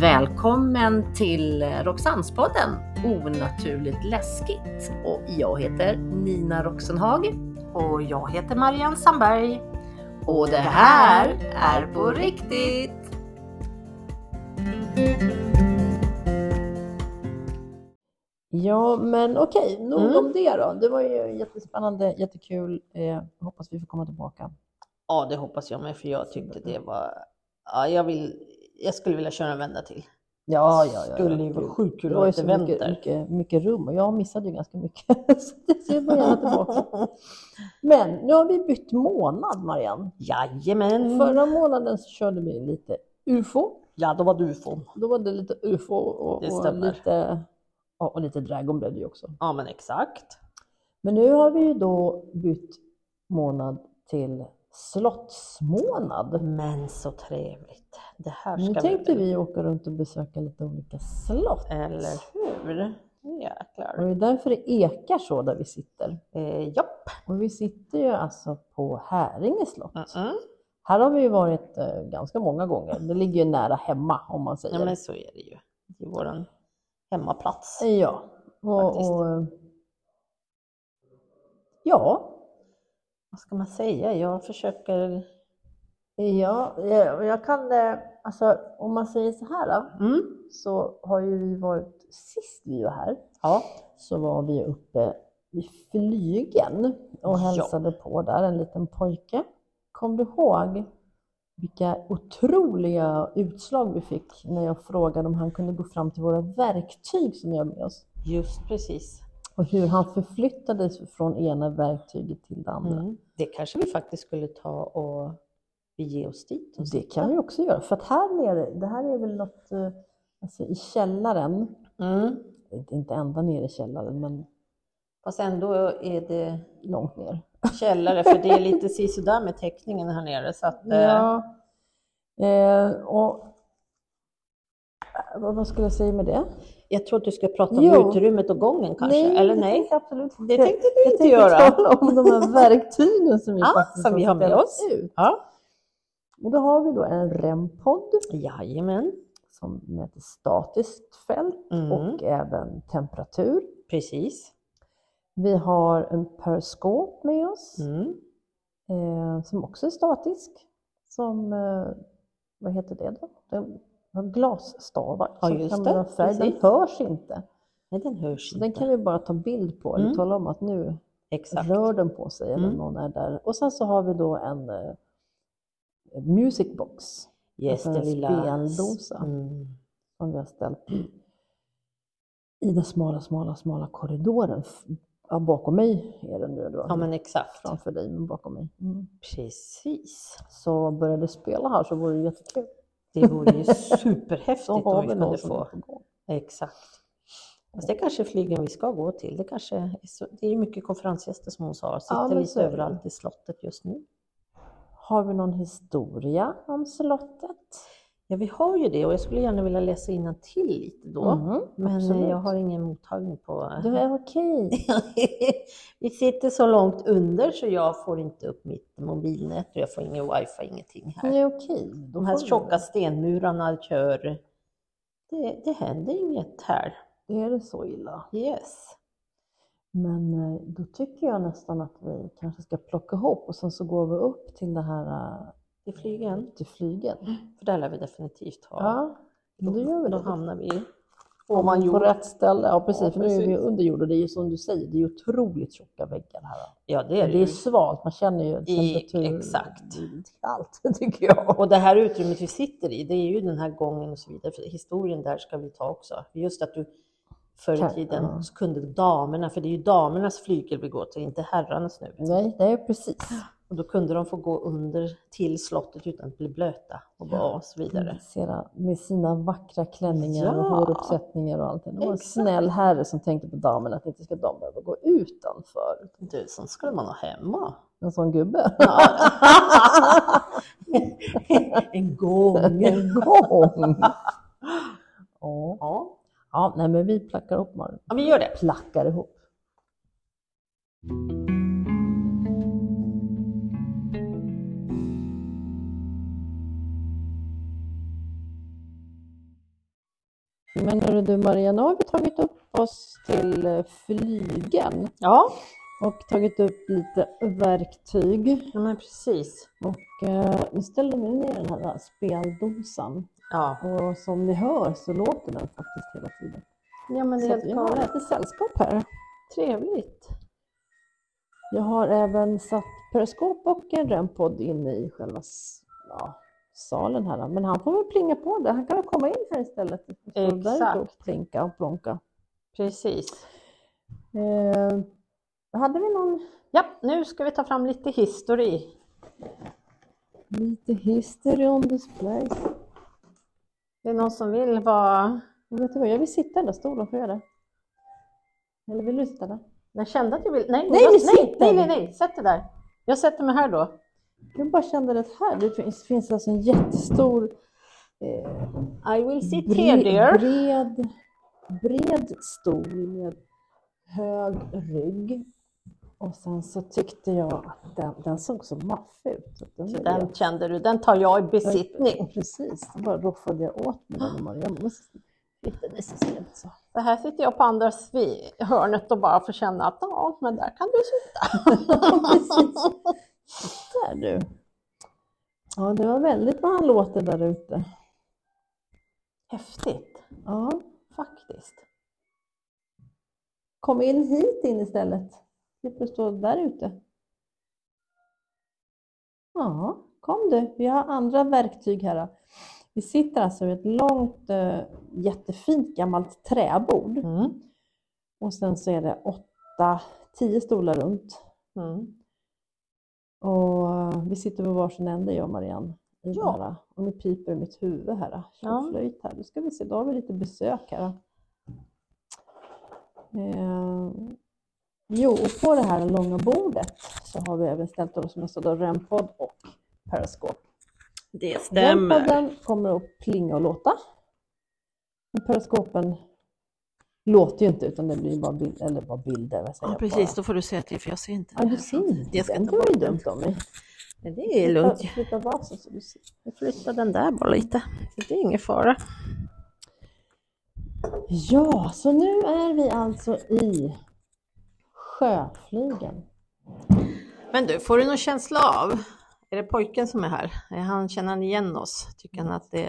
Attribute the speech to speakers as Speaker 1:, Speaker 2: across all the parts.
Speaker 1: Välkommen till Roxannespodden Onaturligt läskigt. Och jag heter Nina Roxenhag.
Speaker 2: Och jag heter Marianne Sandberg.
Speaker 1: Och det här är på riktigt!
Speaker 3: Ja, men okej, nog
Speaker 1: Mm.
Speaker 3: om det då. Det var ju jättespännande, jättekul. Eh, hoppas vi får komma tillbaka.
Speaker 2: Ja, det hoppas jag med för jag tyckte det var... Ja, jag, vill... jag skulle vilja köra en vända till.
Speaker 3: Ja, ja, ja.
Speaker 2: Skulle ju
Speaker 3: ja.
Speaker 2: vara sjukt
Speaker 3: Det
Speaker 2: kul
Speaker 3: var ju
Speaker 2: att
Speaker 3: så
Speaker 2: återvänta.
Speaker 3: mycket, mycket, mycket rum och jag missade ju ganska mycket. Så det ser man gärna tillbaka. Men nu har vi bytt månad, Marianne.
Speaker 2: Jajamän!
Speaker 3: Förra månaden så körde vi lite UFO.
Speaker 2: Ja, då var du fån.
Speaker 3: Då var det lite UFO och,
Speaker 2: Det
Speaker 3: och
Speaker 2: stämmer.
Speaker 3: lite... Ja, och lite Dragon blev det ju också.
Speaker 2: Ja, men exakt.
Speaker 3: Men nu har vi ju då bytt månad till slottsmånad.
Speaker 2: Men så trevligt. Det här ska
Speaker 3: Nu tänkte
Speaker 2: bli-
Speaker 3: vi åka runt och besöka lite olika slott.
Speaker 2: Eller hur? Jäklar.
Speaker 3: Och det är därför det ekar så där vi sitter.
Speaker 2: Eh, japp.
Speaker 3: Och vi sitter ju alltså på Häringe slott.
Speaker 2: Mm-mm.
Speaker 3: Här har vi ju varit eh, ganska många gånger. Det ligger ju nära hemma om man säger.
Speaker 2: Ja, men så är det ju. Det är vår hemmaplats.
Speaker 3: Eh, Ja, och,
Speaker 2: Faktiskt.
Speaker 3: och, eh, ja.
Speaker 2: Vad ska man säga? Jag försöker...
Speaker 3: Eh, Ja, jag, jag kan, eh, alltså om man säger så här då,
Speaker 2: Mm.
Speaker 3: så har ju vi varit, sist vi var här,
Speaker 2: Ja.
Speaker 3: så var vi uppe vid Flygen och
Speaker 2: Ja.
Speaker 3: hälsade på där en liten pojke. Kom du ihåg vilka otroliga utslag vi fick när jag frågade om han kunde gå fram till våra verktyg som vi har med oss?
Speaker 2: Just precis.
Speaker 3: Och hur han förflyttades från ena verktyget till det andra.
Speaker 2: Mm. Det kanske vi faktiskt skulle ta och bege oss dit.
Speaker 3: Det kan vi också göra, för att här nere, det här är väl något eh, alltså, i källaren,
Speaker 2: Mm.
Speaker 3: inte inte ända ner i källaren, men
Speaker 2: Fast ändå är det
Speaker 3: långt ner.
Speaker 2: källare, för det är lite sisådär med täckningen här nere. Så att, eh,
Speaker 3: Ja. Eh, och, eh, vad vad skulle jag säga med det?
Speaker 2: Jag tror att du ska prata
Speaker 3: Jo.
Speaker 2: om utrymmet och gången kanske, eller
Speaker 3: det
Speaker 2: nej?
Speaker 3: tänkte jag absolut
Speaker 2: Det tänkte du
Speaker 3: jag
Speaker 2: inte
Speaker 3: tänkte
Speaker 2: göra.
Speaker 3: tala om de här verktygen som vi
Speaker 2: Ja,
Speaker 3: faktiskt
Speaker 2: som vi har med
Speaker 3: ställt
Speaker 2: oss.
Speaker 3: Ut.
Speaker 2: Ja.
Speaker 3: Och då har vi då en REM-podd
Speaker 2: Jajamän.
Speaker 3: som mäter statiskt fält
Speaker 2: Mm.
Speaker 3: och även temperatur.
Speaker 2: Precis.
Speaker 3: Vi har en periskop med oss
Speaker 2: Mm.
Speaker 3: eh, som också är statisk. Som, eh, vad heter det då? Den har glasstavar.
Speaker 2: Ja,
Speaker 3: som
Speaker 2: just
Speaker 3: kan
Speaker 2: det.
Speaker 3: vara färg. Den
Speaker 2: Precis.
Speaker 3: hörs inte.
Speaker 2: Nej, den hörs
Speaker 3: Så den
Speaker 2: inte.
Speaker 3: kan vi bara ta bild på eller
Speaker 2: Mm.
Speaker 3: tala om att nu
Speaker 2: Exakt.
Speaker 3: rör den på sig eller
Speaker 2: Mm.
Speaker 3: någon är där. Och sen så har vi då en eh, music box
Speaker 2: Yes,
Speaker 3: alltså
Speaker 2: den
Speaker 3: en
Speaker 2: lilla...
Speaker 3: speldosa.
Speaker 2: Mm.
Speaker 3: som vi har ställt i, i den smala, smala, smala korridoren. F- Ja, bakom mig är den nu då.
Speaker 2: Ja, men exakt.
Speaker 3: Framför dig, men bakom mig. Mm.
Speaker 2: Precis.
Speaker 3: Så börjar du spela här så vore det jättekul.
Speaker 2: Det vore ju superhäftigt
Speaker 3: Så har
Speaker 2: om vi
Speaker 3: vi
Speaker 2: kunde
Speaker 3: någon som är
Speaker 2: få.
Speaker 3: på gång.
Speaker 2: Exakt. Fast det kanske är flygen vi ska gå till. Det, kanske är så, det är ju mycket konferensgäster som hon sa, sitter
Speaker 3: men så
Speaker 2: lite
Speaker 3: är det.
Speaker 2: överallt i slottet just nu.
Speaker 3: Har vi någon historia om slottet?
Speaker 2: Ja, vi har ju det och jag skulle gärna vilja läsa innan till lite då.
Speaker 3: Mhm,
Speaker 2: men
Speaker 3: absolut.
Speaker 2: eh, jag har ingen mottagning på...
Speaker 3: Det är okej.
Speaker 2: vi sitter så långt under så jag får inte upp mitt mobilnät och jag får ingen wifi, ingenting här.
Speaker 3: Det är okej. Då
Speaker 2: De här
Speaker 3: får vi-
Speaker 2: tjocka stenmurarna kör... Det, det händer inget här.
Speaker 3: Är det så illa?
Speaker 2: Yes.
Speaker 3: Men eh, då tycker jag nästan att vi kanske ska plocka ihop och sen så går vi upp till det här eh,
Speaker 2: I flygen.
Speaker 3: till flygen.
Speaker 2: För där lär vi definitivt ha.
Speaker 3: Ja, då gör vi
Speaker 2: Då
Speaker 3: det.
Speaker 2: hamnar vi
Speaker 3: Ovan
Speaker 2: ovan
Speaker 3: på
Speaker 2: jord.
Speaker 3: rätt ställe. Ja, precis.
Speaker 2: Ja,
Speaker 3: för nu är vi
Speaker 2: precis.
Speaker 3: under jord och det är ju som du säger, det är ju otroligt tjocka väggar här.
Speaker 2: Ja, det
Speaker 3: Det
Speaker 2: är
Speaker 3: är,
Speaker 2: det ju.
Speaker 3: svalt, man känner ju
Speaker 2: I-
Speaker 3: temperatur.
Speaker 2: exakt.
Speaker 3: Allt, tycker jag.
Speaker 2: Och det här utrymmet vi sitter i, det är ju den här gången och så vidare. För historien där ska vi ta också. Just att du förr i
Speaker 3: Kan-
Speaker 2: tiden
Speaker 3: ja.
Speaker 2: så kunde damerna, för det är ju damernas flygel vi går till, inte herrarnas nu.
Speaker 3: Nej, det är precis.
Speaker 2: Och då kunde de få gå under till slottet utan att bli blöta och, bara, och så vidare.
Speaker 3: Sera Med sina vackra klänningar och
Speaker 2: Ja.
Speaker 3: håruppsättningar och allt. Det var en
Speaker 2: Exakt.
Speaker 3: snäll herre som tänkte på damen att inte ska de behöva gå utanför.
Speaker 2: Du, sånt skulle man ha hemma.
Speaker 3: En sån gubbe.
Speaker 2: en gång.
Speaker 3: En gång! ja.
Speaker 2: Ja,
Speaker 3: ja, nej men vi plackar ihop Malin.
Speaker 2: Ja, vi gör det.
Speaker 3: Plackar ihop. Men hörru du Maria, nu har vi tagit upp oss till eh, flygen
Speaker 2: Ja,
Speaker 3: och tagit upp lite verktyg.
Speaker 2: ja, men precis.
Speaker 3: Och eh, nu ställer vi ner den här speldosan.
Speaker 2: Ja,
Speaker 3: Och som ni hör så låter den faktiskt hela tiden.
Speaker 2: ja men det är
Speaker 3: Så att vi
Speaker 2: helt
Speaker 3: har
Speaker 2: galet.
Speaker 3: lite sällskap här. Trevligt. Jag har även satt periskop och en rempod inne i själva s- ja, salen här. Men han får väl plinga på det. Han kan väl komma in här istället. Så Där och
Speaker 2: Exakt.
Speaker 3: plinka och plonka.
Speaker 2: Precis.
Speaker 3: Eh, hade vi någon
Speaker 2: Ja, nu ska vi ta fram lite history.
Speaker 3: lite history on this place?
Speaker 2: Det är någon som vill vara...
Speaker 3: Och vet du vad, jag vill sitta i den där stolen. Får jag det? Eller vill du sitta där?
Speaker 2: Jag kände att jag vill... Nej,
Speaker 3: Nej,
Speaker 2: jag...
Speaker 3: vi
Speaker 2: nej,
Speaker 3: sitter.
Speaker 2: nej, nej, nej, sätt dig där. Jag sätter mig här då.
Speaker 3: Jag bara kände det här. Det finns, finns alltså en jättestor eh,
Speaker 2: I will sit
Speaker 3: Bre-
Speaker 2: here dear.
Speaker 3: Bred, bred stol med hög rygg. Och sen så tyckte jag att den, den såg så maffig ut. så att Den
Speaker 2: Så
Speaker 3: ville jag-
Speaker 2: Den kände du, den tar jag i besittning.
Speaker 3: Precis, då bara roffade jag åt mig den. och bara, Jag måste hitta den så ser jag ut så.
Speaker 2: Så här sitter jag på andra svi- hörnet och bara får känna att ja, men där kan du sitta.
Speaker 3: Precis. Där du. Ja, det var väldigt vad han låter där ute.
Speaker 2: Häftigt,
Speaker 3: Ja,
Speaker 2: faktiskt.
Speaker 3: kom in hit in istället. Slipper stå där ute. Ja, kom du. Vi har andra verktyg här. Vi sitter alltså vid ett långt, eh, jättefint gammalt träbord.
Speaker 2: Mm.
Speaker 3: Och sen så är det åtta, tio stolar runt.
Speaker 2: Mm.
Speaker 3: Och eh, vi sitter på varsin ände jag och Marianne. I
Speaker 2: Ja.
Speaker 3: ja. här, och nu piper det i mitt huvud här.
Speaker 2: Ja.
Speaker 3: Ja. Flöjt här. Nu ska vi se, då har vi lite besök här. Eh, jo, och på det här långa bordet så har vi även ställt oss som jag sa då, rempodd och periskop.
Speaker 1: Det stämmer.
Speaker 3: Rempodden kommer att plinga och låta. Men periskopen låter ju inte utan det blir ju bara, bild, eller bara bilder. Vad säger
Speaker 1: Ja,
Speaker 3: jag,
Speaker 1: precis,
Speaker 3: Bara.
Speaker 1: då får du säga till för jag ser inte
Speaker 3: Ja,
Speaker 1: det.
Speaker 3: du ser inte.
Speaker 1: Jag ska
Speaker 3: den.
Speaker 1: ta
Speaker 3: Det var ju
Speaker 1: bort den.
Speaker 3: dumt av mig.
Speaker 1: Men det är lugnt.
Speaker 3: Flytta- Flytta basen så du ser.
Speaker 1: Jag flyttar den där bara lite. Det är ingen fara.
Speaker 3: Ja, så nu är vi alltså i sjöflygen.
Speaker 2: Men du, får du någon känsla av? Är det pojken som är här? Är han, känner han igen oss? Tycker han att det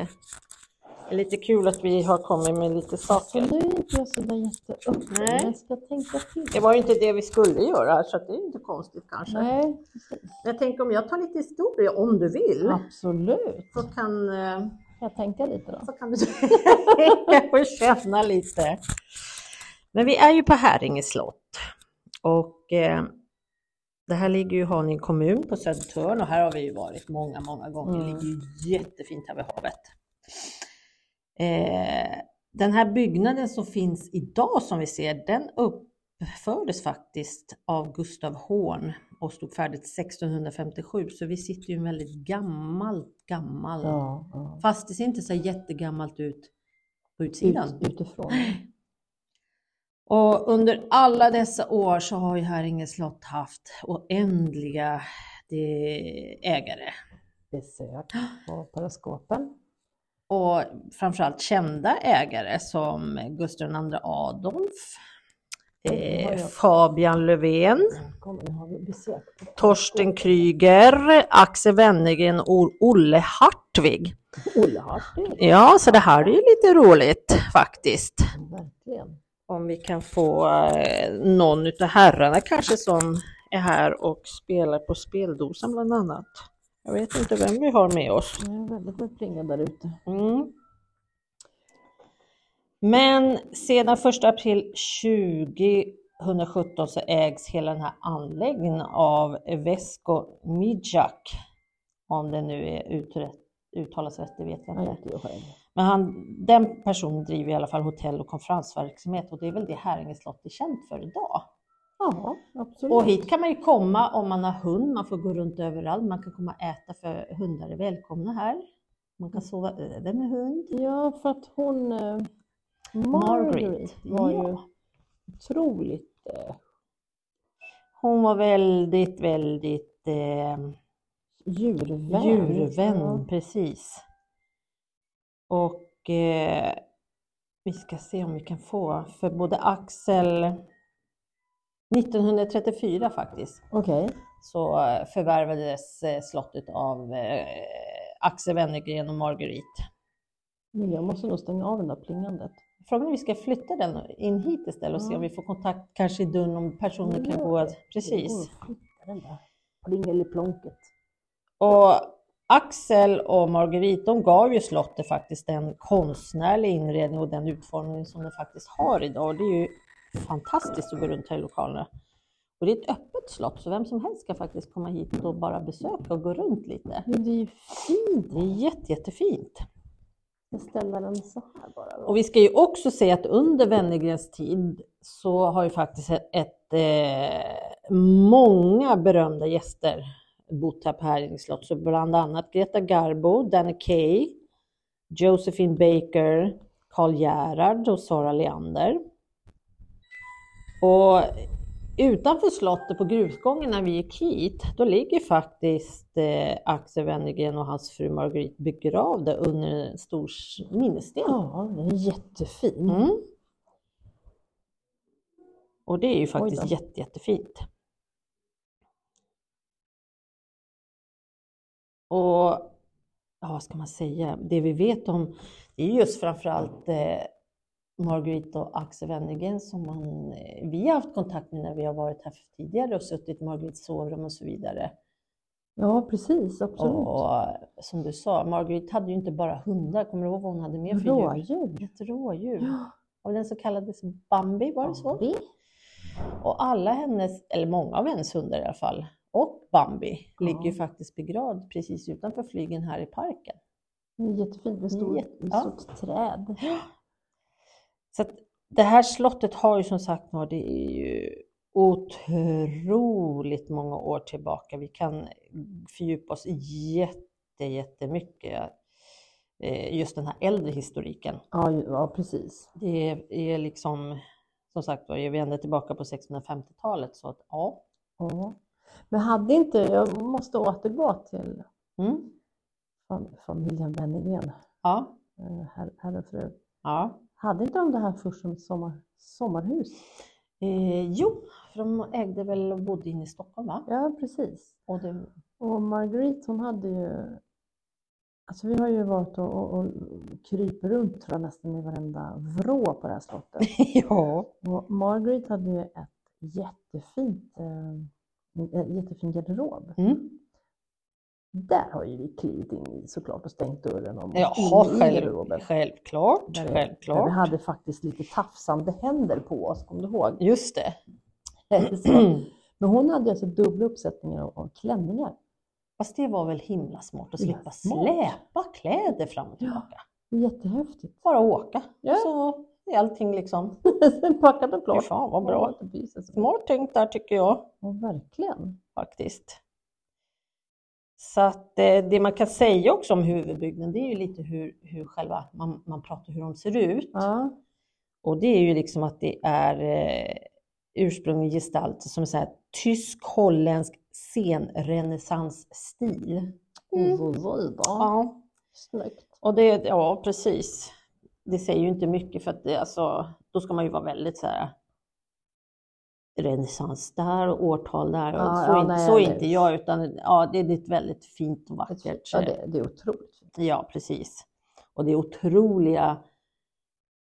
Speaker 2: är lite kul att vi har kommit med
Speaker 3: Så
Speaker 2: lite saker?
Speaker 3: nu är inte jag så där jätteuppe, men
Speaker 2: Nej.
Speaker 3: jag ska tänka till.
Speaker 2: Det var ju inte det vi skulle göra, här, så att det är inte konstigt kanske.
Speaker 3: Nej,
Speaker 2: Jag tänker om jag tar lite historia, om du vill,
Speaker 3: absolut.
Speaker 2: så, kan, eh,
Speaker 3: Jag tänker lite då.
Speaker 2: så kan du få känna lite. Men vi är ju på Häringe slott och eh, det här ligger ju i Haninge kommun på Södertörn och här har vi ju varit många, många gånger.
Speaker 3: Mm.
Speaker 2: Det ligger ju jättefint här vid havet. Eh, den här byggnaden som finns idag som vi ser, den uppfördes faktiskt av Gustav Horn och stod färdigt 1657. Så vi sitter ju i en väldigt gammal, gammal
Speaker 3: Ja, ja.
Speaker 2: Fast det ser inte så jättegammalt ut på utsidan.
Speaker 3: Ut, utifrån.
Speaker 2: Och under alla dessa år så har ju Häringe slott haft oändliga det, ägare.
Speaker 3: Besök på periskopen.
Speaker 2: Och framförallt kända ägare som Gustav II Adolf,
Speaker 3: Det har
Speaker 2: eh,
Speaker 3: jag.
Speaker 2: Fabian Löfven,
Speaker 3: Kom, nu har vi besök.
Speaker 2: Torsten Kryger, Axel Wennergren och Olle Hartvig.
Speaker 3: Olle Hartvig,
Speaker 2: Ja, så det här är ju lite roligt faktiskt.
Speaker 3: liksom, verkligen.
Speaker 2: om vi kan få eh, någon utav herrarna kanske som är här och spelar på speldosan bland annat. Jag vet inte vem vi har med oss.
Speaker 3: Det är väldigt med plingar där ute.
Speaker 2: Mm. Men sedan 1 april 2017 så ägs hela den här anläggningen av Vesco Mijak. Om det nu är uträtt, uttalas rätt, det vet jag
Speaker 3: Han
Speaker 2: inte.
Speaker 3: gick ju själv.
Speaker 2: Men han, den personen driver i alla fall hotell och konferensverksamhet och det är väl det Häringe slott är känt för idag.
Speaker 3: Ja, absolut.
Speaker 2: Och hit kan man ju komma om man har hund, man får gå runt överallt, man kan komma och äta för hundar är välkomna här. Man kan sova över med hund.
Speaker 3: Ja, för att hon, eh,
Speaker 2: Margaret,
Speaker 3: Margaret, var ju
Speaker 2: ja.
Speaker 3: otroligt... Eh,
Speaker 2: Hon var väldigt, väldigt eh,
Speaker 3: Djurvän.
Speaker 2: Djurvän,
Speaker 3: Ja.
Speaker 2: precis. Och eh, Vi ska se om vi kan få för både Axel 1934 faktiskt
Speaker 3: Okej.
Speaker 2: så eh, förvärvades eh, slottet av eh, Axel Wennergren och Marguerite.
Speaker 3: Men jag måste nog stänga av det där plingandet.
Speaker 2: Frågan är om vi ska flytta den in hit istället och se
Speaker 3: Ja.
Speaker 2: om vi får kontakt kanske i dörren om personer kan gå. Precis.
Speaker 3: Oh, titta den där plingeliplonket.
Speaker 2: Och Axel och Marguerite de gav ju slottet faktiskt den konstnärliga inredning och den utformning som det faktiskt har idag. Och det är ju fantastiskt att gå runt här i lokalerna. Och det är ett öppet slott så vem som helst kan faktiskt komma hit och bara besöka och gå runt lite.
Speaker 3: Men det är ju fint.
Speaker 2: Det är jätte, jättefint.
Speaker 3: Jag ställer den så här bara. Då.
Speaker 2: Och vi ska ju också se att under Wennergrens tid så har ju faktiskt ett, ett eh, många berömda gäster bott här på Häringe slott. Så bland annat Greta Garbo, Danny Kaye, Josephine Baker, Carl Gerhard och Sara Leander. Och utanför slottet på grusgången när vi gick hit, då ligger faktiskt eh, Axel Wennergren och hans fru Marguerite begravda under en stor s- minnessten.
Speaker 3: Ja, den är jättefin.
Speaker 2: Mm. Och det är ju
Speaker 3: då.
Speaker 2: faktiskt jätte, jättefint. Och ja, vad ska man säga? Det vi vet om, det är just framförallt eh, Marguerite och Axel Wennergren som man, eh, vi har haft kontakt med när vi har varit här tidigare och suttit i Marguerites sovrum och så vidare.
Speaker 3: Ja, precis. Absolut.
Speaker 2: Och eh, som du sa, Marguerite hade ju inte bara hundar, kommer du ihåg vad hon hade med för djur?
Speaker 3: Rådjur.
Speaker 2: Ett rådjur
Speaker 3: Ja.
Speaker 2: av den som kallades Bambi, var det så?
Speaker 3: Bambi.
Speaker 2: Och alla hennes, eller många av hennes hundar i alla fall, och Bambi
Speaker 3: Ja.
Speaker 2: ligger ju faktiskt begravd precis utanför flygen här i parken.
Speaker 3: Det är jättefint med stor,
Speaker 2: Jätte-
Speaker 3: med
Speaker 2: ja.
Speaker 3: stort träd.
Speaker 2: Så att det här slottet har ju som sagt var, det är ju otroligt många år tillbaka. Vi kan fördjupa oss jätte, jättemycket eh, just den här äldre historiken.
Speaker 3: Ja, ju- ja precis.
Speaker 2: Det är liksom, som sagt var, är vi ända tillbaka på 1650-talet så att ja.
Speaker 3: Ja. Men hade inte, jag måste återgå till
Speaker 2: Mm,
Speaker 3: fam- familjen Wennergren,
Speaker 2: ja.
Speaker 3: eh, herr, herr och fru.
Speaker 2: Ja.
Speaker 3: Hade inte de det här först som ett sommar, sommarhus?
Speaker 2: Eh, jo, för de ägde väl och bodde inne i Stockholm va?
Speaker 3: Ja, precis.
Speaker 2: Och det,
Speaker 3: Och Marguerite hon hade ju, alltså vi har ju varit och, och, och kryper runt tror jag nästan i varenda vrå på det här slottet.
Speaker 2: ja.
Speaker 3: Och Marguerite hade ju ett jättefint, eh, en jättefin garderob.
Speaker 2: Mm.
Speaker 3: Där har ju vi klivit in i såklart och stängt dörren om
Speaker 2: Jaha,
Speaker 3: in i
Speaker 2: själv,
Speaker 3: garderoben.
Speaker 2: självklart.
Speaker 3: Där vi- Men
Speaker 2: självklart.
Speaker 3: vi hade faktiskt lite tafsande händer på oss, kommer du ihåg?
Speaker 2: Just det.
Speaker 3: Så. Men hon hade alltså dubbla uppsättningar av, av klänningar.
Speaker 2: Fast det var väl himla smart att
Speaker 3: Himla
Speaker 2: slippa
Speaker 3: smart.
Speaker 2: släpa kläder fram och tillbaka.
Speaker 3: Jättehäftigt.
Speaker 2: Bara åka.
Speaker 3: Ja.
Speaker 2: Så är allting liksom.
Speaker 3: Sen packade och
Speaker 2: Fy
Speaker 3: klart.
Speaker 2: fan vad
Speaker 3: Ja,
Speaker 2: bra.
Speaker 3: det blir så.
Speaker 2: Smart tänkt där tycker jag.
Speaker 3: Ja, verkligen.
Speaker 2: faktiskt. Så att eh, det man kan säga också om huvudbyggnaden det är ju lite hur, hur själva, man, man pratar hur de ser ut.
Speaker 3: Ja.
Speaker 2: Och det är ju liksom att det är eh, ursprungligen gestalt som så här, tysk, holländsk senrenässansstil. Mm.
Speaker 3: Oj, oj, oj, då.
Speaker 2: Ja,
Speaker 3: Snyggt.
Speaker 2: och det, ja precis. Det säger ju inte mycket för att det, alltså, då ska man ju vara väldigt så här renässans där och årtal där. Och
Speaker 3: Ja,
Speaker 2: så
Speaker 3: ja,
Speaker 2: inte,
Speaker 3: nej,
Speaker 2: så
Speaker 3: eller-
Speaker 2: inte jag, utan ja, det är ett väldigt fint och
Speaker 3: Ett-
Speaker 2: vackert.
Speaker 3: Ja, det, det är otroligt fint.
Speaker 2: Ja, precis. Och det är otroliga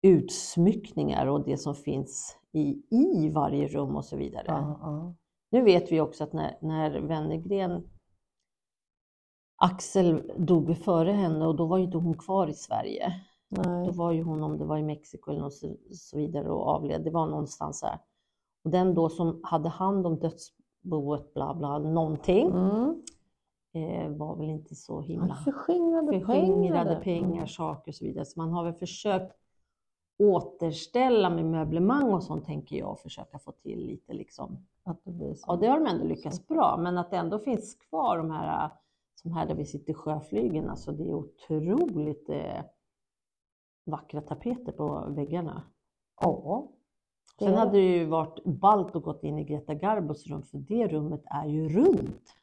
Speaker 2: utsmyckningar och det som finns i, i varje rum och så vidare.
Speaker 3: Ja, ja.
Speaker 2: Nu vet vi också att när, när Wennergren Axel dog före henne och då var ju inte hon kvar i Sverige. Då
Speaker 3: Nej.
Speaker 2: var ju hon, om det var i Mexiko eller något så, så vidare, och avled. Det var någonstans där. Och den då som hade hand om dödsboet, bla bla, någonting,
Speaker 3: Mm.
Speaker 2: eh, var väl inte så himla
Speaker 3: Han förskingrade,
Speaker 2: förskingrade
Speaker 3: Alltså, pengar.
Speaker 2: pengar, saker och så vidare. Så man har väl försökt återställa med möblemang och sånt tänker jag, och försöka få till lite liksom.
Speaker 3: Att det blir så.
Speaker 2: Ja, det har de ändå lyckats bra, men att det ändå finns kvar de här som här där vi sitter i sjöflygen, alltså det är otroligt eh, vackra tapeter på väggarna.
Speaker 3: Ja.
Speaker 2: Sen
Speaker 3: Det-
Speaker 2: hade det ju varit ballt att gått in i Greta Garbos rum, för det rummet är ju runt.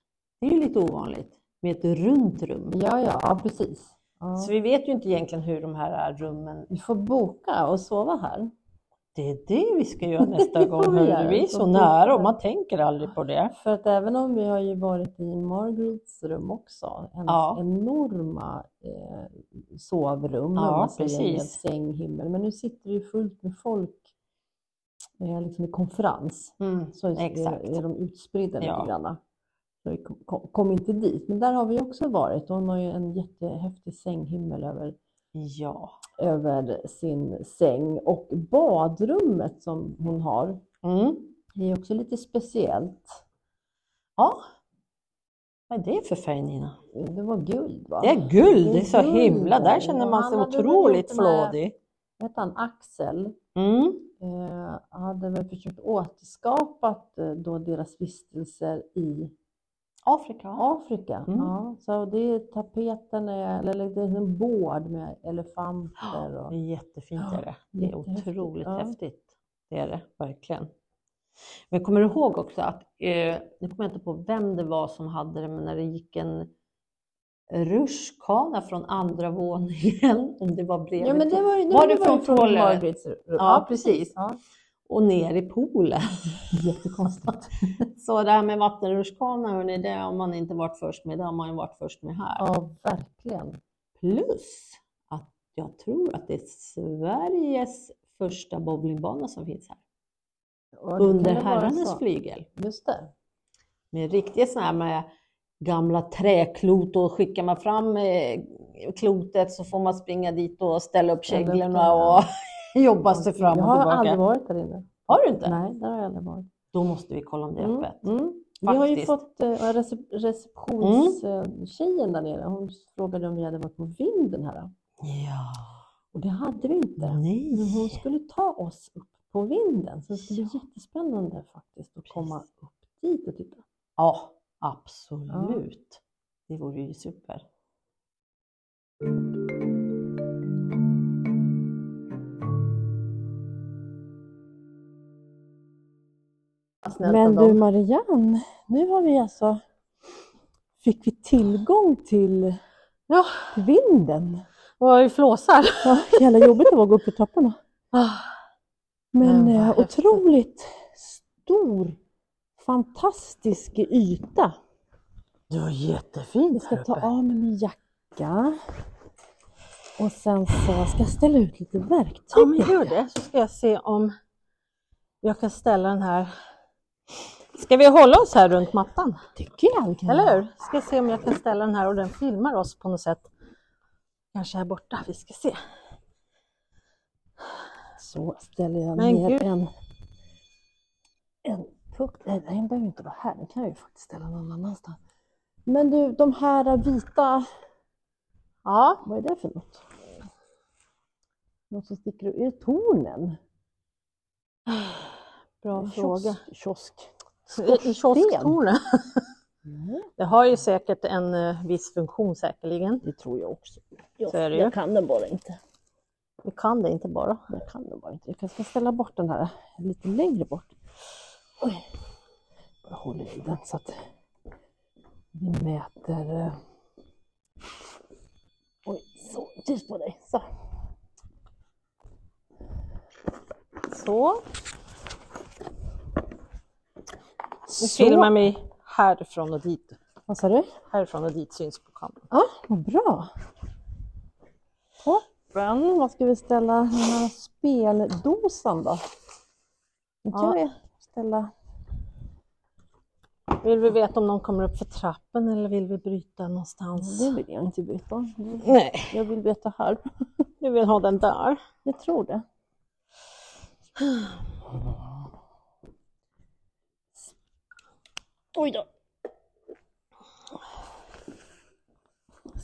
Speaker 2: Det är ju lite ovanligt med ett runt rum.
Speaker 3: Ja, ja, ja, precis. Ja.
Speaker 2: Så vi vet ju inte egentligen hur de här rummen...
Speaker 3: Vi får boka och sova här.
Speaker 2: Det är det vi ska göra nästa
Speaker 3: Ja,
Speaker 2: gång.
Speaker 3: vi
Speaker 2: hörru.
Speaker 3: gör
Speaker 2: Vi är
Speaker 3: det.
Speaker 2: så
Speaker 3: Och
Speaker 2: nära
Speaker 3: boka.
Speaker 2: och man tänker aldrig på det.
Speaker 3: För att även om vi har ju varit i Margarets rum också, hennes
Speaker 2: Ja.
Speaker 3: enorma eh, sovrum,
Speaker 2: Ja,
Speaker 3: om man säger, med
Speaker 2: precis.
Speaker 3: säng, himmel. Men nu sitter vi fullt med folk eh, liksom i konferens. Så är,
Speaker 2: Exakt.
Speaker 3: är de utspridda lite
Speaker 2: Ja.
Speaker 3: grann. Så vi kom, kom, kom inte dit, men där har vi också varit. Hon har ju en jättehäftig sänghimmel över,
Speaker 2: Ja.
Speaker 3: över sin säng. Och badrummet som hon har
Speaker 2: Mm.
Speaker 3: det är också lite speciellt.
Speaker 2: ja. Vad är det för färg Nina?
Speaker 3: Det var guld va?
Speaker 2: Det är guld,
Speaker 3: Det
Speaker 2: det är så
Speaker 3: är guld
Speaker 2: himla,
Speaker 3: där.
Speaker 2: där känner
Speaker 3: Ja,
Speaker 2: man sig
Speaker 3: han hade väl
Speaker 2: otroligt
Speaker 3: gjort den här-
Speaker 2: flådig.
Speaker 3: Vad hette han? Axel
Speaker 2: Mm.
Speaker 3: eh, hade väl försökt återskapa eh, då deras vistelser i
Speaker 2: Afrika.
Speaker 3: Afrika.
Speaker 2: Mm.
Speaker 3: Ja, så det är tapeten, är- eller eller det är en bård med elefanter
Speaker 2: Det
Speaker 3: och
Speaker 2: är jättefint är det.
Speaker 3: Ja,
Speaker 2: Det är
Speaker 3: jättehäftigt,
Speaker 2: otroligt
Speaker 3: ja.
Speaker 2: häftigt. Det är det, verkligen. Men kommer du ihåg också att, eh, nu kommer jag inte på vem det var som hade det, men när det gick en rutschkana från andra våningen, om det var bredvid,
Speaker 3: Ja, men det var,
Speaker 2: Var det
Speaker 3: ju
Speaker 2: från Trolle?
Speaker 3: Margarets rum. Ja,
Speaker 2: precis.
Speaker 3: Ja.
Speaker 2: och ner i poolen. Jättekonstigt. Så det här med vattenrutschkana, hörni, det har man inte varit först med, det har man ju varit först med här.
Speaker 3: ja, verkligen.
Speaker 2: Plus att jag tror att det är Sveriges första bowlingbana som finns här.
Speaker 3: Och det
Speaker 2: Under
Speaker 3: kan det vara
Speaker 2: herrarnas
Speaker 3: så.
Speaker 2: flygel.
Speaker 3: Just det.
Speaker 2: Med riktiga sådana här med gamla träklot och skickar man fram eh, klotet så får man springa dit och ställa upp
Speaker 3: Ställa upp
Speaker 2: käglorna
Speaker 3: det, ja.
Speaker 2: och jobba sig fram
Speaker 3: jag
Speaker 2: och
Speaker 3: har
Speaker 2: tillbaka.
Speaker 3: aldrig varit där inne.
Speaker 2: Har du inte?
Speaker 3: Nej, där har jag aldrig varit.
Speaker 2: Då måste vi kolla om det är
Speaker 3: Mm,
Speaker 2: öppet.
Speaker 3: mm. Vi har ju
Speaker 2: Faktiskt.
Speaker 3: fått eh, recep- receptionstjejen där nere. Hon frågade om vi hade varit på vinden här.
Speaker 2: Ja,
Speaker 3: Och det hade vi inte. Men hon
Speaker 2: nej.
Speaker 3: skulle ta oss upp på vinden. Så det skulle bli jättespännande faktiskt att komma upp dit och titta.
Speaker 2: Ja, absolut. Det vore ju super.
Speaker 1: Vad snällt av
Speaker 3: Men
Speaker 1: dem.
Speaker 3: du Marianne, nu har vi alltså fick vi tillgång till
Speaker 2: Ja.
Speaker 3: vinden.
Speaker 2: Vad vi flåsar.
Speaker 3: Ja, jävla jobbigt det var att gå upp i trapporna. Men
Speaker 2: Men vad
Speaker 3: eh,
Speaker 2: häftigt.
Speaker 3: otroligt stor, fantastisk yta.
Speaker 2: Det var jättefint
Speaker 3: Jag ska
Speaker 2: här
Speaker 3: ta
Speaker 2: uppe.
Speaker 3: av mig min jacka. Och sen så ska jag ställa ut lite
Speaker 2: Ja, men
Speaker 3: verktyg.
Speaker 2: gör det så ska jag se om jag kan ställa den här. Ska vi hålla oss här runt mattan?
Speaker 3: tycker jag. vi kan
Speaker 2: Eller
Speaker 3: göra.
Speaker 2: hur? Ska se om jag kan ställa den här och den filmar oss på något sätt. Kanske här borta, vi ska se.
Speaker 3: Så ställer jag
Speaker 2: Men
Speaker 3: ner
Speaker 2: gud.
Speaker 3: en, en puck. Nej, den behöver inte vara här. Den kan jag ju faktiskt ställa någon annanstans. Men du, de här vita,
Speaker 2: Ja,
Speaker 3: vad är det för något? Något som sticker ut? Är det tornen?
Speaker 2: bra
Speaker 3: En
Speaker 2: fråga.
Speaker 3: Kiosk. kiosk. Mm.
Speaker 2: I kiosktornet. Det har ju säkert en eh, viss funktion säkerligen.
Speaker 3: Det tror jag också.
Speaker 2: Så är
Speaker 3: Jag,
Speaker 2: det ju.
Speaker 3: jag kan den bara inte.
Speaker 2: Vi kan det inte bara.
Speaker 3: Jag kan den bara inte. Jag kanske ska ställa bort den här lite längre bort. Oj. Jag håller i den så att vi mäter. eh. Oj, så. Tyst på dig. Så.
Speaker 2: Så, nu
Speaker 3: så.
Speaker 2: filmar vi härifrån och dit.
Speaker 3: Vad sa du?
Speaker 2: Härifrån och dit syns på kameran.
Speaker 3: Ja, vad bra. Toppen. Vad ska vi ställa den här speldosan då? Nu kan vi ställa.
Speaker 2: Vill vi veta om någon kommer upp för trappen eller vill vi bryta någonstans?
Speaker 3: Det vill jag inte veta.
Speaker 2: Nej,
Speaker 3: Jag vill veta här.
Speaker 2: du vill ha den där.
Speaker 3: Jag tror det. Oj då.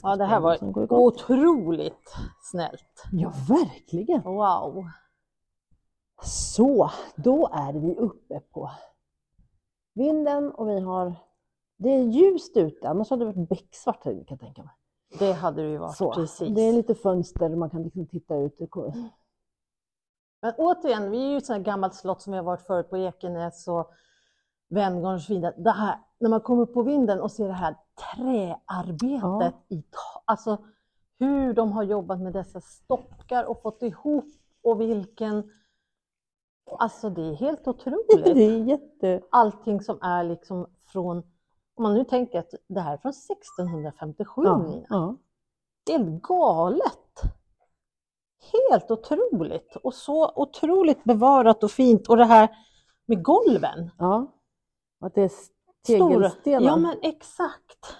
Speaker 2: Ja, det här var
Speaker 3: Som går igång.
Speaker 2: otroligt snällt.
Speaker 3: Ja, verkligen.
Speaker 2: Wow!
Speaker 3: Så, då är vi uppe på vinden och vi har... Det är ljust ute, annars hade det varit becksvart här inne, kan jag tänka mig.
Speaker 2: Det hade det ju varit,
Speaker 3: Så,
Speaker 2: precis.
Speaker 3: Det är lite fönster, man kan liksom titta ut. Det kommer-
Speaker 2: Men återigen, vi är ju ett sånt här gammalt slott som vi har varit förut på Ekenäs och Vemgarns vidare. Det här, när man kommer upp på vinden och ser det här träarbetet i ta- alltså hur de har jobbat med dessa stockar och fått ihop och vilken... Alltså det är helt otroligt.
Speaker 3: Det är jätte...
Speaker 2: allting som är liksom från, om man nu tänker att det här är från 1657
Speaker 3: Ja,
Speaker 2: Nina.
Speaker 3: ja.
Speaker 2: Det är helt galet! Helt otroligt! Och så otroligt bevarat och fint. Och det här med golven.
Speaker 3: ja. Att det är
Speaker 2: Stora-
Speaker 3: tegelstenar.
Speaker 2: Ja men exakt!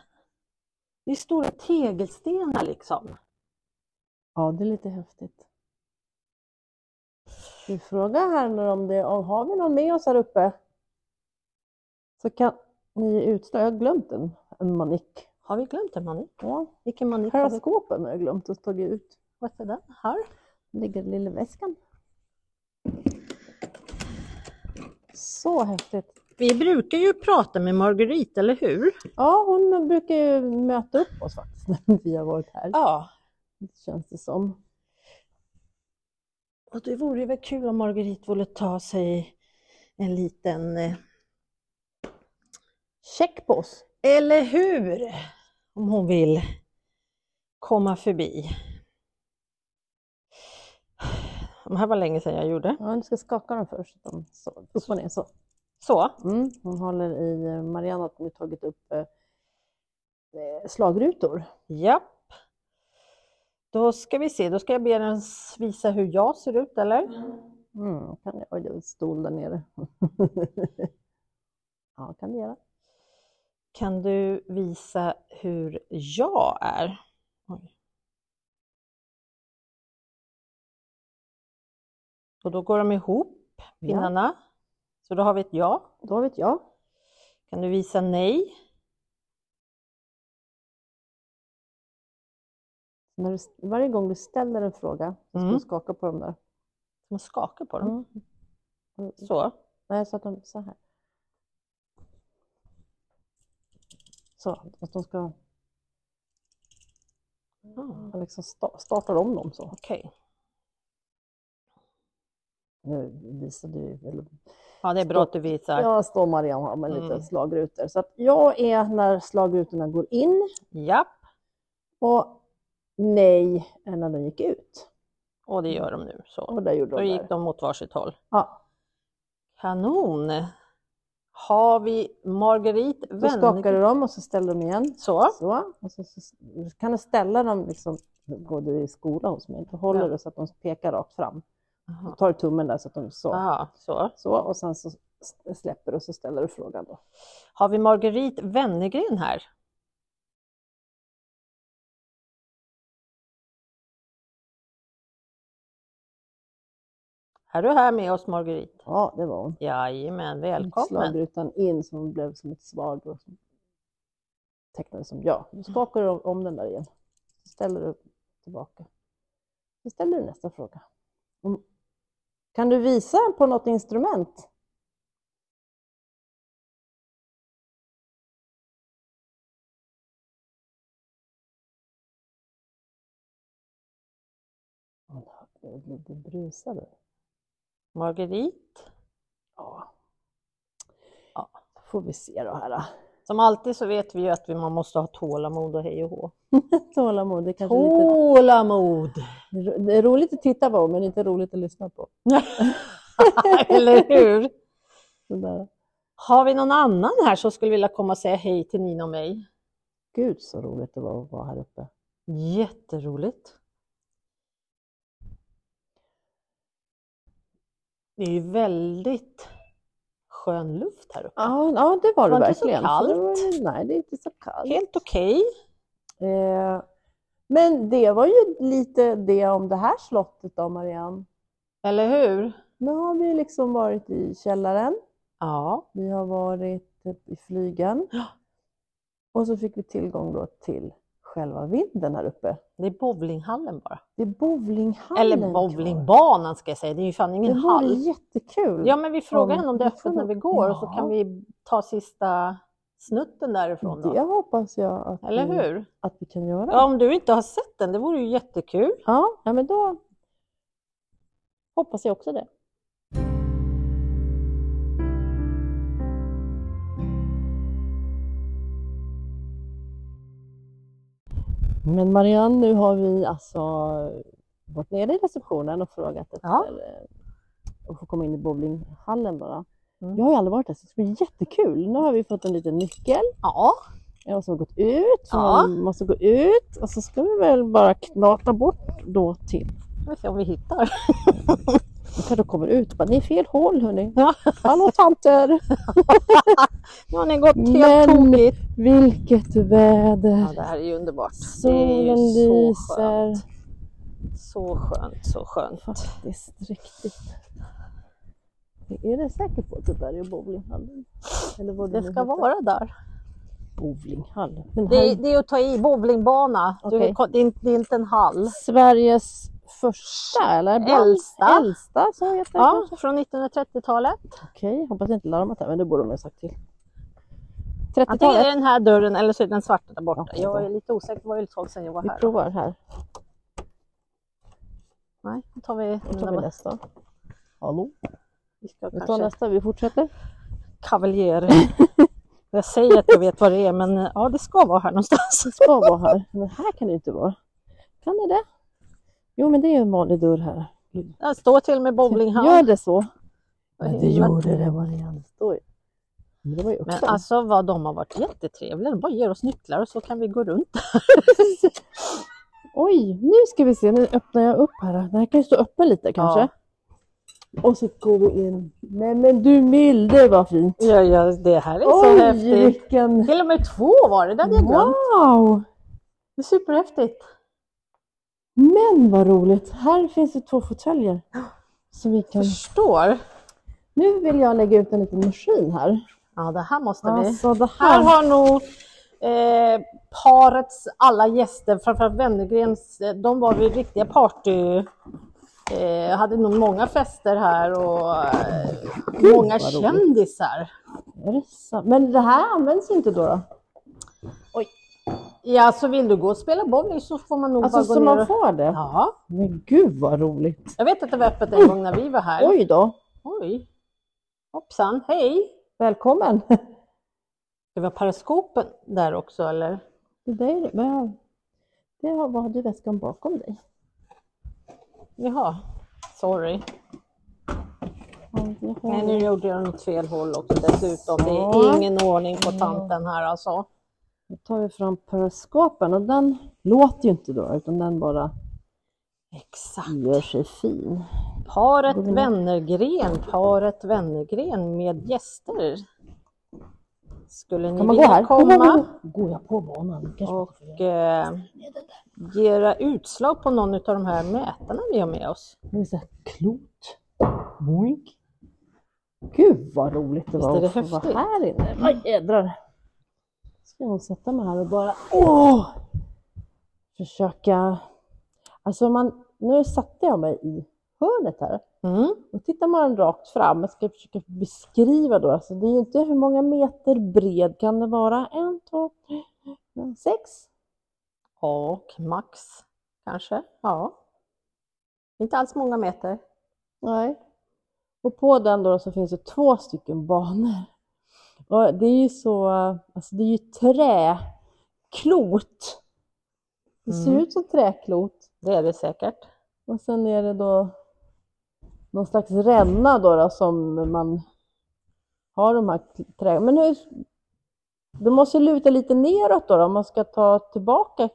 Speaker 2: Det är stora tegelstenar liksom.
Speaker 3: ja, det är lite häftigt. Vi frågar här nu om det, om har vi någon med oss här uppe? Så kan ni utstå, jag har glömt en, en manik.
Speaker 2: Har vi glömt en manik?
Speaker 3: Ja,
Speaker 2: Vilken manik har vi?
Speaker 3: periskopen har jag glömt att ta ut.
Speaker 2: Vad är den? Här?
Speaker 3: ligger i lilla väskan. Så häftigt.
Speaker 2: Vi brukar ju prata med Marguerite, eller hur?
Speaker 3: Ja, hon brukar ju möta upp oss faktiskt när vi har varit här.
Speaker 2: Ja,
Speaker 3: Känns det som.
Speaker 2: Och det vore ju väl kul om Marguerite ville ta sig en liten... eh,
Speaker 3: Check på oss.
Speaker 2: Eller hur? Om hon vill komma förbi. Det här var länge sedan jag gjorde.
Speaker 3: Ja, du ska skaka dem först. De- Så, upp och ner så.
Speaker 2: Så,
Speaker 3: Mm. Hon håller i, eh, Marianne har nu tagit upp eh, eh, slagrutor.
Speaker 2: japp. Då ska vi se, då ska jag be den s- visa hur jag ser ut, eller?
Speaker 3: Mm, kan jag, oj, det är en stol där nere. ja, kan det göra.
Speaker 2: Kan du visa hur jag är? Oj. Och då går de ihop,
Speaker 3: Ja,
Speaker 2: pinnarna. Så då har vi ett ja.
Speaker 3: då vet jag.
Speaker 2: Kan du visa nej?
Speaker 3: När du, varje gång du ställer en fråga så ska
Speaker 2: Mm.
Speaker 3: du skaka på dem där.
Speaker 2: Man skakar på dem.
Speaker 3: Mm. Mm.
Speaker 2: Så.
Speaker 3: Nej, så att de så här. Så, att de ska
Speaker 2: Mm.
Speaker 3: man liksom sta, startar om dem så.
Speaker 2: Okej.
Speaker 3: Nu visar du väl.
Speaker 2: Ja, det är bra att du visar.
Speaker 3: Jag står Marianne här med lite
Speaker 2: Mm.
Speaker 3: slagrutor. Så att jag är när slagrutorna går in
Speaker 2: Japp.
Speaker 3: och nej är när de gick ut.
Speaker 2: Och det gör de nu. Så.
Speaker 3: Och där gjorde
Speaker 2: Då
Speaker 3: de
Speaker 2: gick
Speaker 3: där.
Speaker 2: de åt varsitt håll.
Speaker 3: Ja,
Speaker 2: Kanon! Har vi Marguerite
Speaker 3: då skakar du
Speaker 2: Wennergren?
Speaker 3: dem och så ställer de igen.
Speaker 2: Så.
Speaker 3: Så, och så, så kan du ställa dem, liksom, går du i skola hos mig, då håller
Speaker 2: Ja.
Speaker 3: du så att de pekar rakt fram. Då
Speaker 2: Aha.
Speaker 3: tar du tummen där så att de så.
Speaker 2: Aha, så.
Speaker 3: så och sen så s- släpper du och så ställer du frågan då.
Speaker 2: Har vi Marguerite Wennergren här? Är du här med oss Marguerite?
Speaker 3: Ja, det var hon.
Speaker 2: Jajamän, välkommen!
Speaker 3: Slagrutan in som blev som ett svar då. Som tecknades som ja. Då skakar du om- om den där igen. Så ställer du tillbaka. Så ställer du nästa fråga. Om- Kan du visa på något instrument? Hon hör- Det brusade.
Speaker 2: Marguerite?
Speaker 3: Ja.
Speaker 2: Ja.
Speaker 3: Får vi se då här. då.
Speaker 2: Som alltid så vet vi ju att vi- man måste ha tålamod och hej och hå.
Speaker 3: Tålamod, det är kanske lite,
Speaker 2: Tålamod!
Speaker 3: det är roligt att titta på men inte roligt att lyssna på.
Speaker 2: Eller hur?
Speaker 3: Det där.
Speaker 2: Har vi någon annan här som skulle vilja komma och säga hej till Nina och mig?
Speaker 3: Gud så roligt det var att vara här uppe.
Speaker 2: Jätteroligt! Det är ju väldigt skön luft här uppe.
Speaker 3: Ja, ja det var det
Speaker 2: Var inte så
Speaker 3: verkligen. Så det var-
Speaker 2: kallt?
Speaker 3: nej, det är inte så kallt.
Speaker 2: Helt okej.
Speaker 3: Eh, men det var ju lite det om det här slottet då Marianne.
Speaker 2: Eller hur?
Speaker 3: Nu har vi liksom varit i källaren,
Speaker 2: Ja.
Speaker 3: vi har varit typ i flygen.
Speaker 2: Ja.
Speaker 3: Och så fick vi tillgång då till själva vinden här uppe.
Speaker 2: Det är bowlinghallen bara.
Speaker 3: Det är bowlinghallen
Speaker 2: Eller
Speaker 3: kvar.
Speaker 2: bowlingbanan ska jag säga, det är ju fan ingen
Speaker 3: Det vore
Speaker 2: hall.
Speaker 3: jättekul.
Speaker 2: Ja, men vi frågar
Speaker 3: Om-
Speaker 2: henne om det är öppet när vi går och så kan vi ta sista snutten därifrån
Speaker 3: Det Mm.
Speaker 2: då.
Speaker 3: hoppas jag att,
Speaker 2: Eller
Speaker 3: vi,
Speaker 2: hur?
Speaker 3: att vi kan göra.
Speaker 2: Ja, om du inte har sett den, det vore ju jättekul.
Speaker 3: Ja, ja, men då hoppas jag också det. Men Marianne, nu har vi alltså varit nere i receptionen och frågat efter
Speaker 2: Ja.
Speaker 3: eh, att få komma in i bowlinghallen bara.
Speaker 2: Mm.
Speaker 3: Jag har ju aldrig varit där så det ska bli jättekul. Nu har vi fått en liten nyckel
Speaker 2: Ja.
Speaker 3: och så har vi gått ut. Så
Speaker 2: Ja.
Speaker 3: man måste gå ut och så ska vi väl bara knata bort då till
Speaker 2: Vi får se om vi hittar.
Speaker 3: Jag kanske kommer ut och bara, ni är fel hål hörni.
Speaker 2: Ja.
Speaker 3: Hallå tanter!
Speaker 2: Nu har ni gått helt
Speaker 3: Men-
Speaker 2: tokigt.
Speaker 3: Vilket väder!
Speaker 2: Ja, det här är ju underbart. det är
Speaker 3: Solen
Speaker 2: ju så
Speaker 3: lyser.
Speaker 2: skönt. Så skönt, så skönt.
Speaker 3: Faktiskt riktigt. Är du säker på att det där är bowlinghallen? Eller vad
Speaker 2: Det
Speaker 3: nu
Speaker 2: ska
Speaker 3: heter?
Speaker 2: vara där.
Speaker 3: Bowlinghall. Men
Speaker 2: Det är,
Speaker 3: Mm. här,
Speaker 2: det är att ta i, bowlingbana.
Speaker 3: Okej.
Speaker 2: Du, det, är inte, det är inte en hall.
Speaker 3: Sveriges första eller? bland-
Speaker 2: Äldsta.
Speaker 3: Äldsta så heter det
Speaker 2: Ja,
Speaker 3: kanske.
Speaker 2: från 1930-talet.
Speaker 3: Okej, hoppas jag inte larmat här men det borde de ha sagt till.
Speaker 2: Antingen är
Speaker 3: 30-talet.
Speaker 2: det den här dörren eller så är det den svarta där borta.
Speaker 3: Okej då.
Speaker 2: Jag är lite osäker, det var ju ett tag sedan jag var
Speaker 3: Vi
Speaker 2: här.
Speaker 3: provar här.
Speaker 2: Nej, då tar vi
Speaker 3: Då tar vi nästa. Hallå?
Speaker 2: Vi ska
Speaker 3: Vi tar
Speaker 2: kanske
Speaker 3: nästa, vi fortsätter.
Speaker 2: kavaljer. jag säger att jag vet vad det är, men eh, ja, det ska vara här någonstans.
Speaker 3: ska vara här. Men här kan det inte vara. Kan det det? Jo, men det är ju en vanlig dörr här.
Speaker 2: Den står till och med bowlinghall.
Speaker 3: Gör det så?
Speaker 2: Vad
Speaker 3: Men det
Speaker 2: himla-
Speaker 3: gjorde det, Marianne. Står ju. Men det var ju
Speaker 2: Men
Speaker 3: öppen.
Speaker 2: alltså vad de har varit jättetrevliga. De bara ger oss nycklar och så kan vi gå runt.
Speaker 3: Oj, nu ska vi se. Nu öppnar jag upp här. Den här kan ju stå öppen lite kanske. Och så går vi in. Nej men du milde vad fint!
Speaker 2: Ja, ja, det här är så
Speaker 3: Oj,
Speaker 2: häftigt.
Speaker 3: vilken...
Speaker 2: Till och med två var det, det hade jag glömt.
Speaker 3: Wow!
Speaker 2: Det är superhäftigt.
Speaker 3: Men vad roligt! Här finns det två fåtöljer. Så vi kan...
Speaker 2: Förstår.
Speaker 3: Nu vill jag lägga ut en liten maskin här.
Speaker 2: Ja, det här måste vi.
Speaker 3: Alltså det
Speaker 2: Här
Speaker 3: här...
Speaker 2: har nog eh, parets alla gäster, framförallt Wennergrens, eh, de var väl riktiga party... Eh, hade nog många fester här och eh,
Speaker 3: Gud,
Speaker 2: många
Speaker 3: vad roligt.
Speaker 2: kändisar.
Speaker 3: Är det sant? Men det här används ju inte då? då?
Speaker 2: Ja, så vill du gå och spela bowling så får man nog
Speaker 3: Alltså
Speaker 2: bara gå
Speaker 3: så
Speaker 2: ner
Speaker 3: man
Speaker 2: och...
Speaker 3: får det?
Speaker 2: Ja,
Speaker 3: Men gud vad roligt!
Speaker 2: jag vet att det var öppet en gång när vi var här.
Speaker 3: Oj då!
Speaker 2: Oj. Hoppsan, hej!
Speaker 3: Välkommen!
Speaker 2: Det var periskopen där också eller?
Speaker 3: Det där, vad jag- det har, vad har du i väskan bakom dig?
Speaker 2: Jaha, sorry.
Speaker 3: Ja, jag har-
Speaker 2: Nej, nu gjorde jag något fel håll också dessutom. Det
Speaker 3: Så.
Speaker 2: är ingen ordning på tanten här alltså.
Speaker 3: Nu tar vi fram periskopen och den låter ju inte då utan den bara
Speaker 2: Exakt.
Speaker 3: gör sig fin.
Speaker 2: Paret
Speaker 3: Går vi ner?
Speaker 2: Wennergren, paret Wennergren med gäster. Skulle ni
Speaker 3: Kan man gå här?
Speaker 2: vilja komma
Speaker 3: Går jag på banan? Kanske man får göra.
Speaker 2: och eh, ge era utslag på någon av de här mätarna vi har med oss?
Speaker 3: Nu är det så här klot. Boink. Gud vad roligt det
Speaker 2: Visst
Speaker 3: var
Speaker 2: är det
Speaker 3: att få vara
Speaker 2: häftigt?
Speaker 3: här inne. Aj jädrar. Ska jag sätta mig här och bara åh, försöka. Alltså man, nu satte jag mig i hörnet här
Speaker 2: Mm.
Speaker 3: och tittar man rakt fram, jag ska försöka beskriva då, alltså det är ju inte hur många meter bred kan det vara? En, två, tre, fyra, sex?
Speaker 2: Och max kanske? Ja. Inte alls många meter.
Speaker 3: Nej. Och på den då så finns det två stycken banor. Och det är ju så, alltså det är ju träklot. Det ser
Speaker 2: Mm.
Speaker 3: ut som träklot.
Speaker 2: Det är det säkert.
Speaker 3: Och sen är det då någon slags ränna då, då som man har de här kl- trä... Men hur... Det måste ju luta lite neråt då, då om man ska ta tillbaka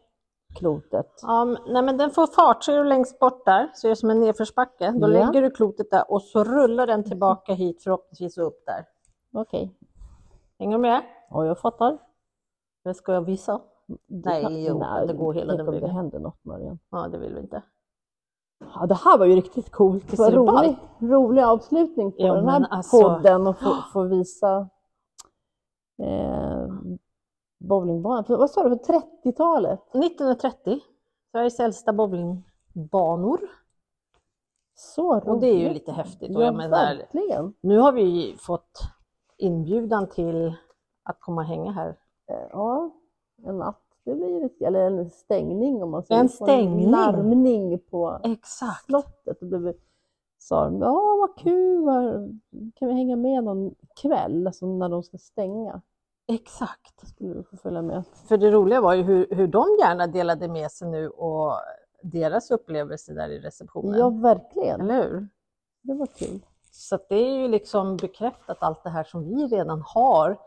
Speaker 3: klotet.
Speaker 2: Ja, men- nej, men den får fart, så är du längst bort där, så är det som en nedförsbacke. Då
Speaker 3: Ja.
Speaker 2: lägger du klotet där och så rullar den tillbaka hit förhoppningsvis och upp där.
Speaker 3: Okej.
Speaker 2: Hänger du med?
Speaker 3: Ja, jag fattar.
Speaker 2: Eller ska jag visa? Nej, jo, det går hela
Speaker 3: tänk
Speaker 2: den
Speaker 3: om det
Speaker 2: vägen.
Speaker 3: händer något, Marianne.
Speaker 2: Ja, det vill vi inte.
Speaker 3: Ja, det här var ju riktigt coolt.
Speaker 2: Visst
Speaker 3: Vad
Speaker 2: är det
Speaker 3: rolig, rolig avslutning på
Speaker 2: Ja,
Speaker 3: den här
Speaker 2: men alltså-
Speaker 3: podden och få, få visa eh, bowlingbanan. För- Vad sa du, för 30-talet?
Speaker 2: 1930, Sveriges äldsta bowlingbanor.
Speaker 3: Så roligt.
Speaker 2: Och det är ju lite häftigt. Och
Speaker 3: Ja,
Speaker 2: jag menar,
Speaker 3: verkligen.
Speaker 2: nu har vi fått inbjudan till att komma och hänga här.
Speaker 3: Eh, Ja, en natt. Det blir ju lite, eller en stängning om man säger.
Speaker 2: En
Speaker 3: Få
Speaker 2: stängning.
Speaker 3: En larmning på
Speaker 2: Exakt.
Speaker 3: slottet. Och då sa de, ja vad kul, vad- kan vi hänga med någon kväll? Alltså när de ska stänga. Exakt, skulle du få följa med.
Speaker 2: För det roliga var ju hur, hur de gärna delade med sig nu och deras upplevelser där i receptionen.
Speaker 3: Ja, verkligen.
Speaker 2: Eller hur?
Speaker 3: Det var kul.
Speaker 2: Så att det är ju liksom bekräftat allt det här som vi redan har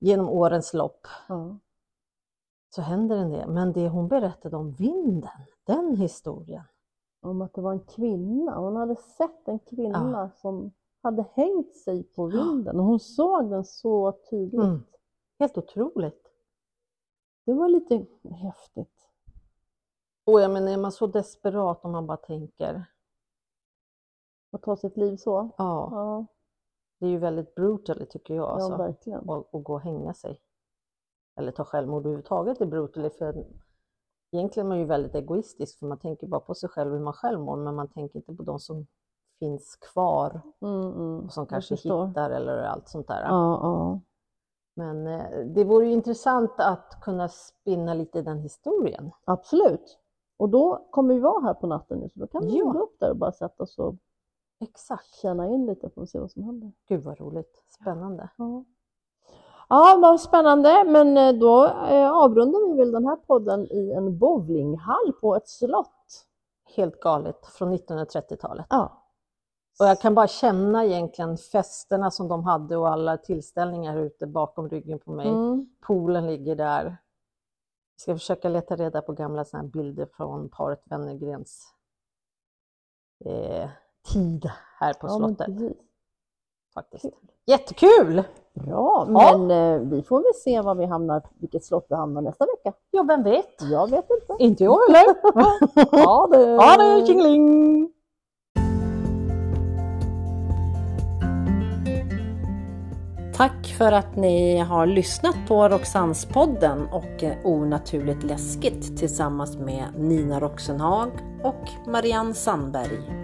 Speaker 2: genom årens lopp.
Speaker 3: Ja.
Speaker 2: Så händer det det. Men det hon berättade om vinden, den historien.
Speaker 3: Om att det var en kvinna. Hon hade sett en kvinna som hade hängt sig på vinden och hon såg den så tydligt.
Speaker 2: Mm. Helt otroligt.
Speaker 3: Det var lite häftigt.
Speaker 2: Och jag menar, är man så desperat om man bara tänker,
Speaker 3: Att ta sitt liv så.
Speaker 2: ja,
Speaker 3: Ja,
Speaker 2: det är ju väldigt brutally tycker jag.
Speaker 3: ja
Speaker 2: Alltså.
Speaker 3: verkligen.
Speaker 2: och, och gå och hänga sig. Eller ta självmord överhuvudtaget är brutally, för egentligen är man ju väldigt egoistisk, för man tänker bara på sig själv och hur man själv mår, men man tänker inte på de som finns kvar
Speaker 3: Mm, mm.
Speaker 2: och som
Speaker 3: Jag
Speaker 2: kanske
Speaker 3: förstår.
Speaker 2: hittar eller allt sånt där.
Speaker 3: Ja, ja.
Speaker 2: Men eh, det vore ju intressant att kunna spinna lite i den historien.
Speaker 3: Absolut. Och då kommer vi vara här på natten nu, så då kan vi
Speaker 2: Ja.
Speaker 3: gå upp där och bara sätta oss och
Speaker 2: Exakt.
Speaker 3: känna in lite för att se vad som händer.
Speaker 2: Gud vad roligt, spännande.
Speaker 3: Ja, ja vad spännande. Men eh, då eh, avrundar vi väl den här podden i en bowlinghall på ett slott.
Speaker 2: Helt galet från 1930-talet.
Speaker 3: Ja.
Speaker 2: Och jag kan bara känna egentligen festerna som de hade och alla tillställningar ute bakom ryggen på mig.
Speaker 3: Mm.
Speaker 2: poolen ligger där. Jag ska försöka leta reda på gamla såna här bilder från paret Wennergrens eh, tid här på
Speaker 3: Ja, men
Speaker 2: slottet.
Speaker 3: precis.
Speaker 2: faktiskt.
Speaker 3: kul.
Speaker 2: Jättekul!
Speaker 3: Bra,
Speaker 2: Ja.
Speaker 3: men eh, vi får väl se var vi hamnar, vilket slott vi hamnar nästa vecka.
Speaker 2: Ja, vem vet?
Speaker 3: Jag vet inte.
Speaker 2: Inte jag heller.
Speaker 3: Ha det!
Speaker 2: ha det, tjingeling!
Speaker 1: Tack för att ni har lyssnat på Roxans podden och eh, Onaturligt läskigt tillsammans med Nina Roxenhag och Marianne Sandberg.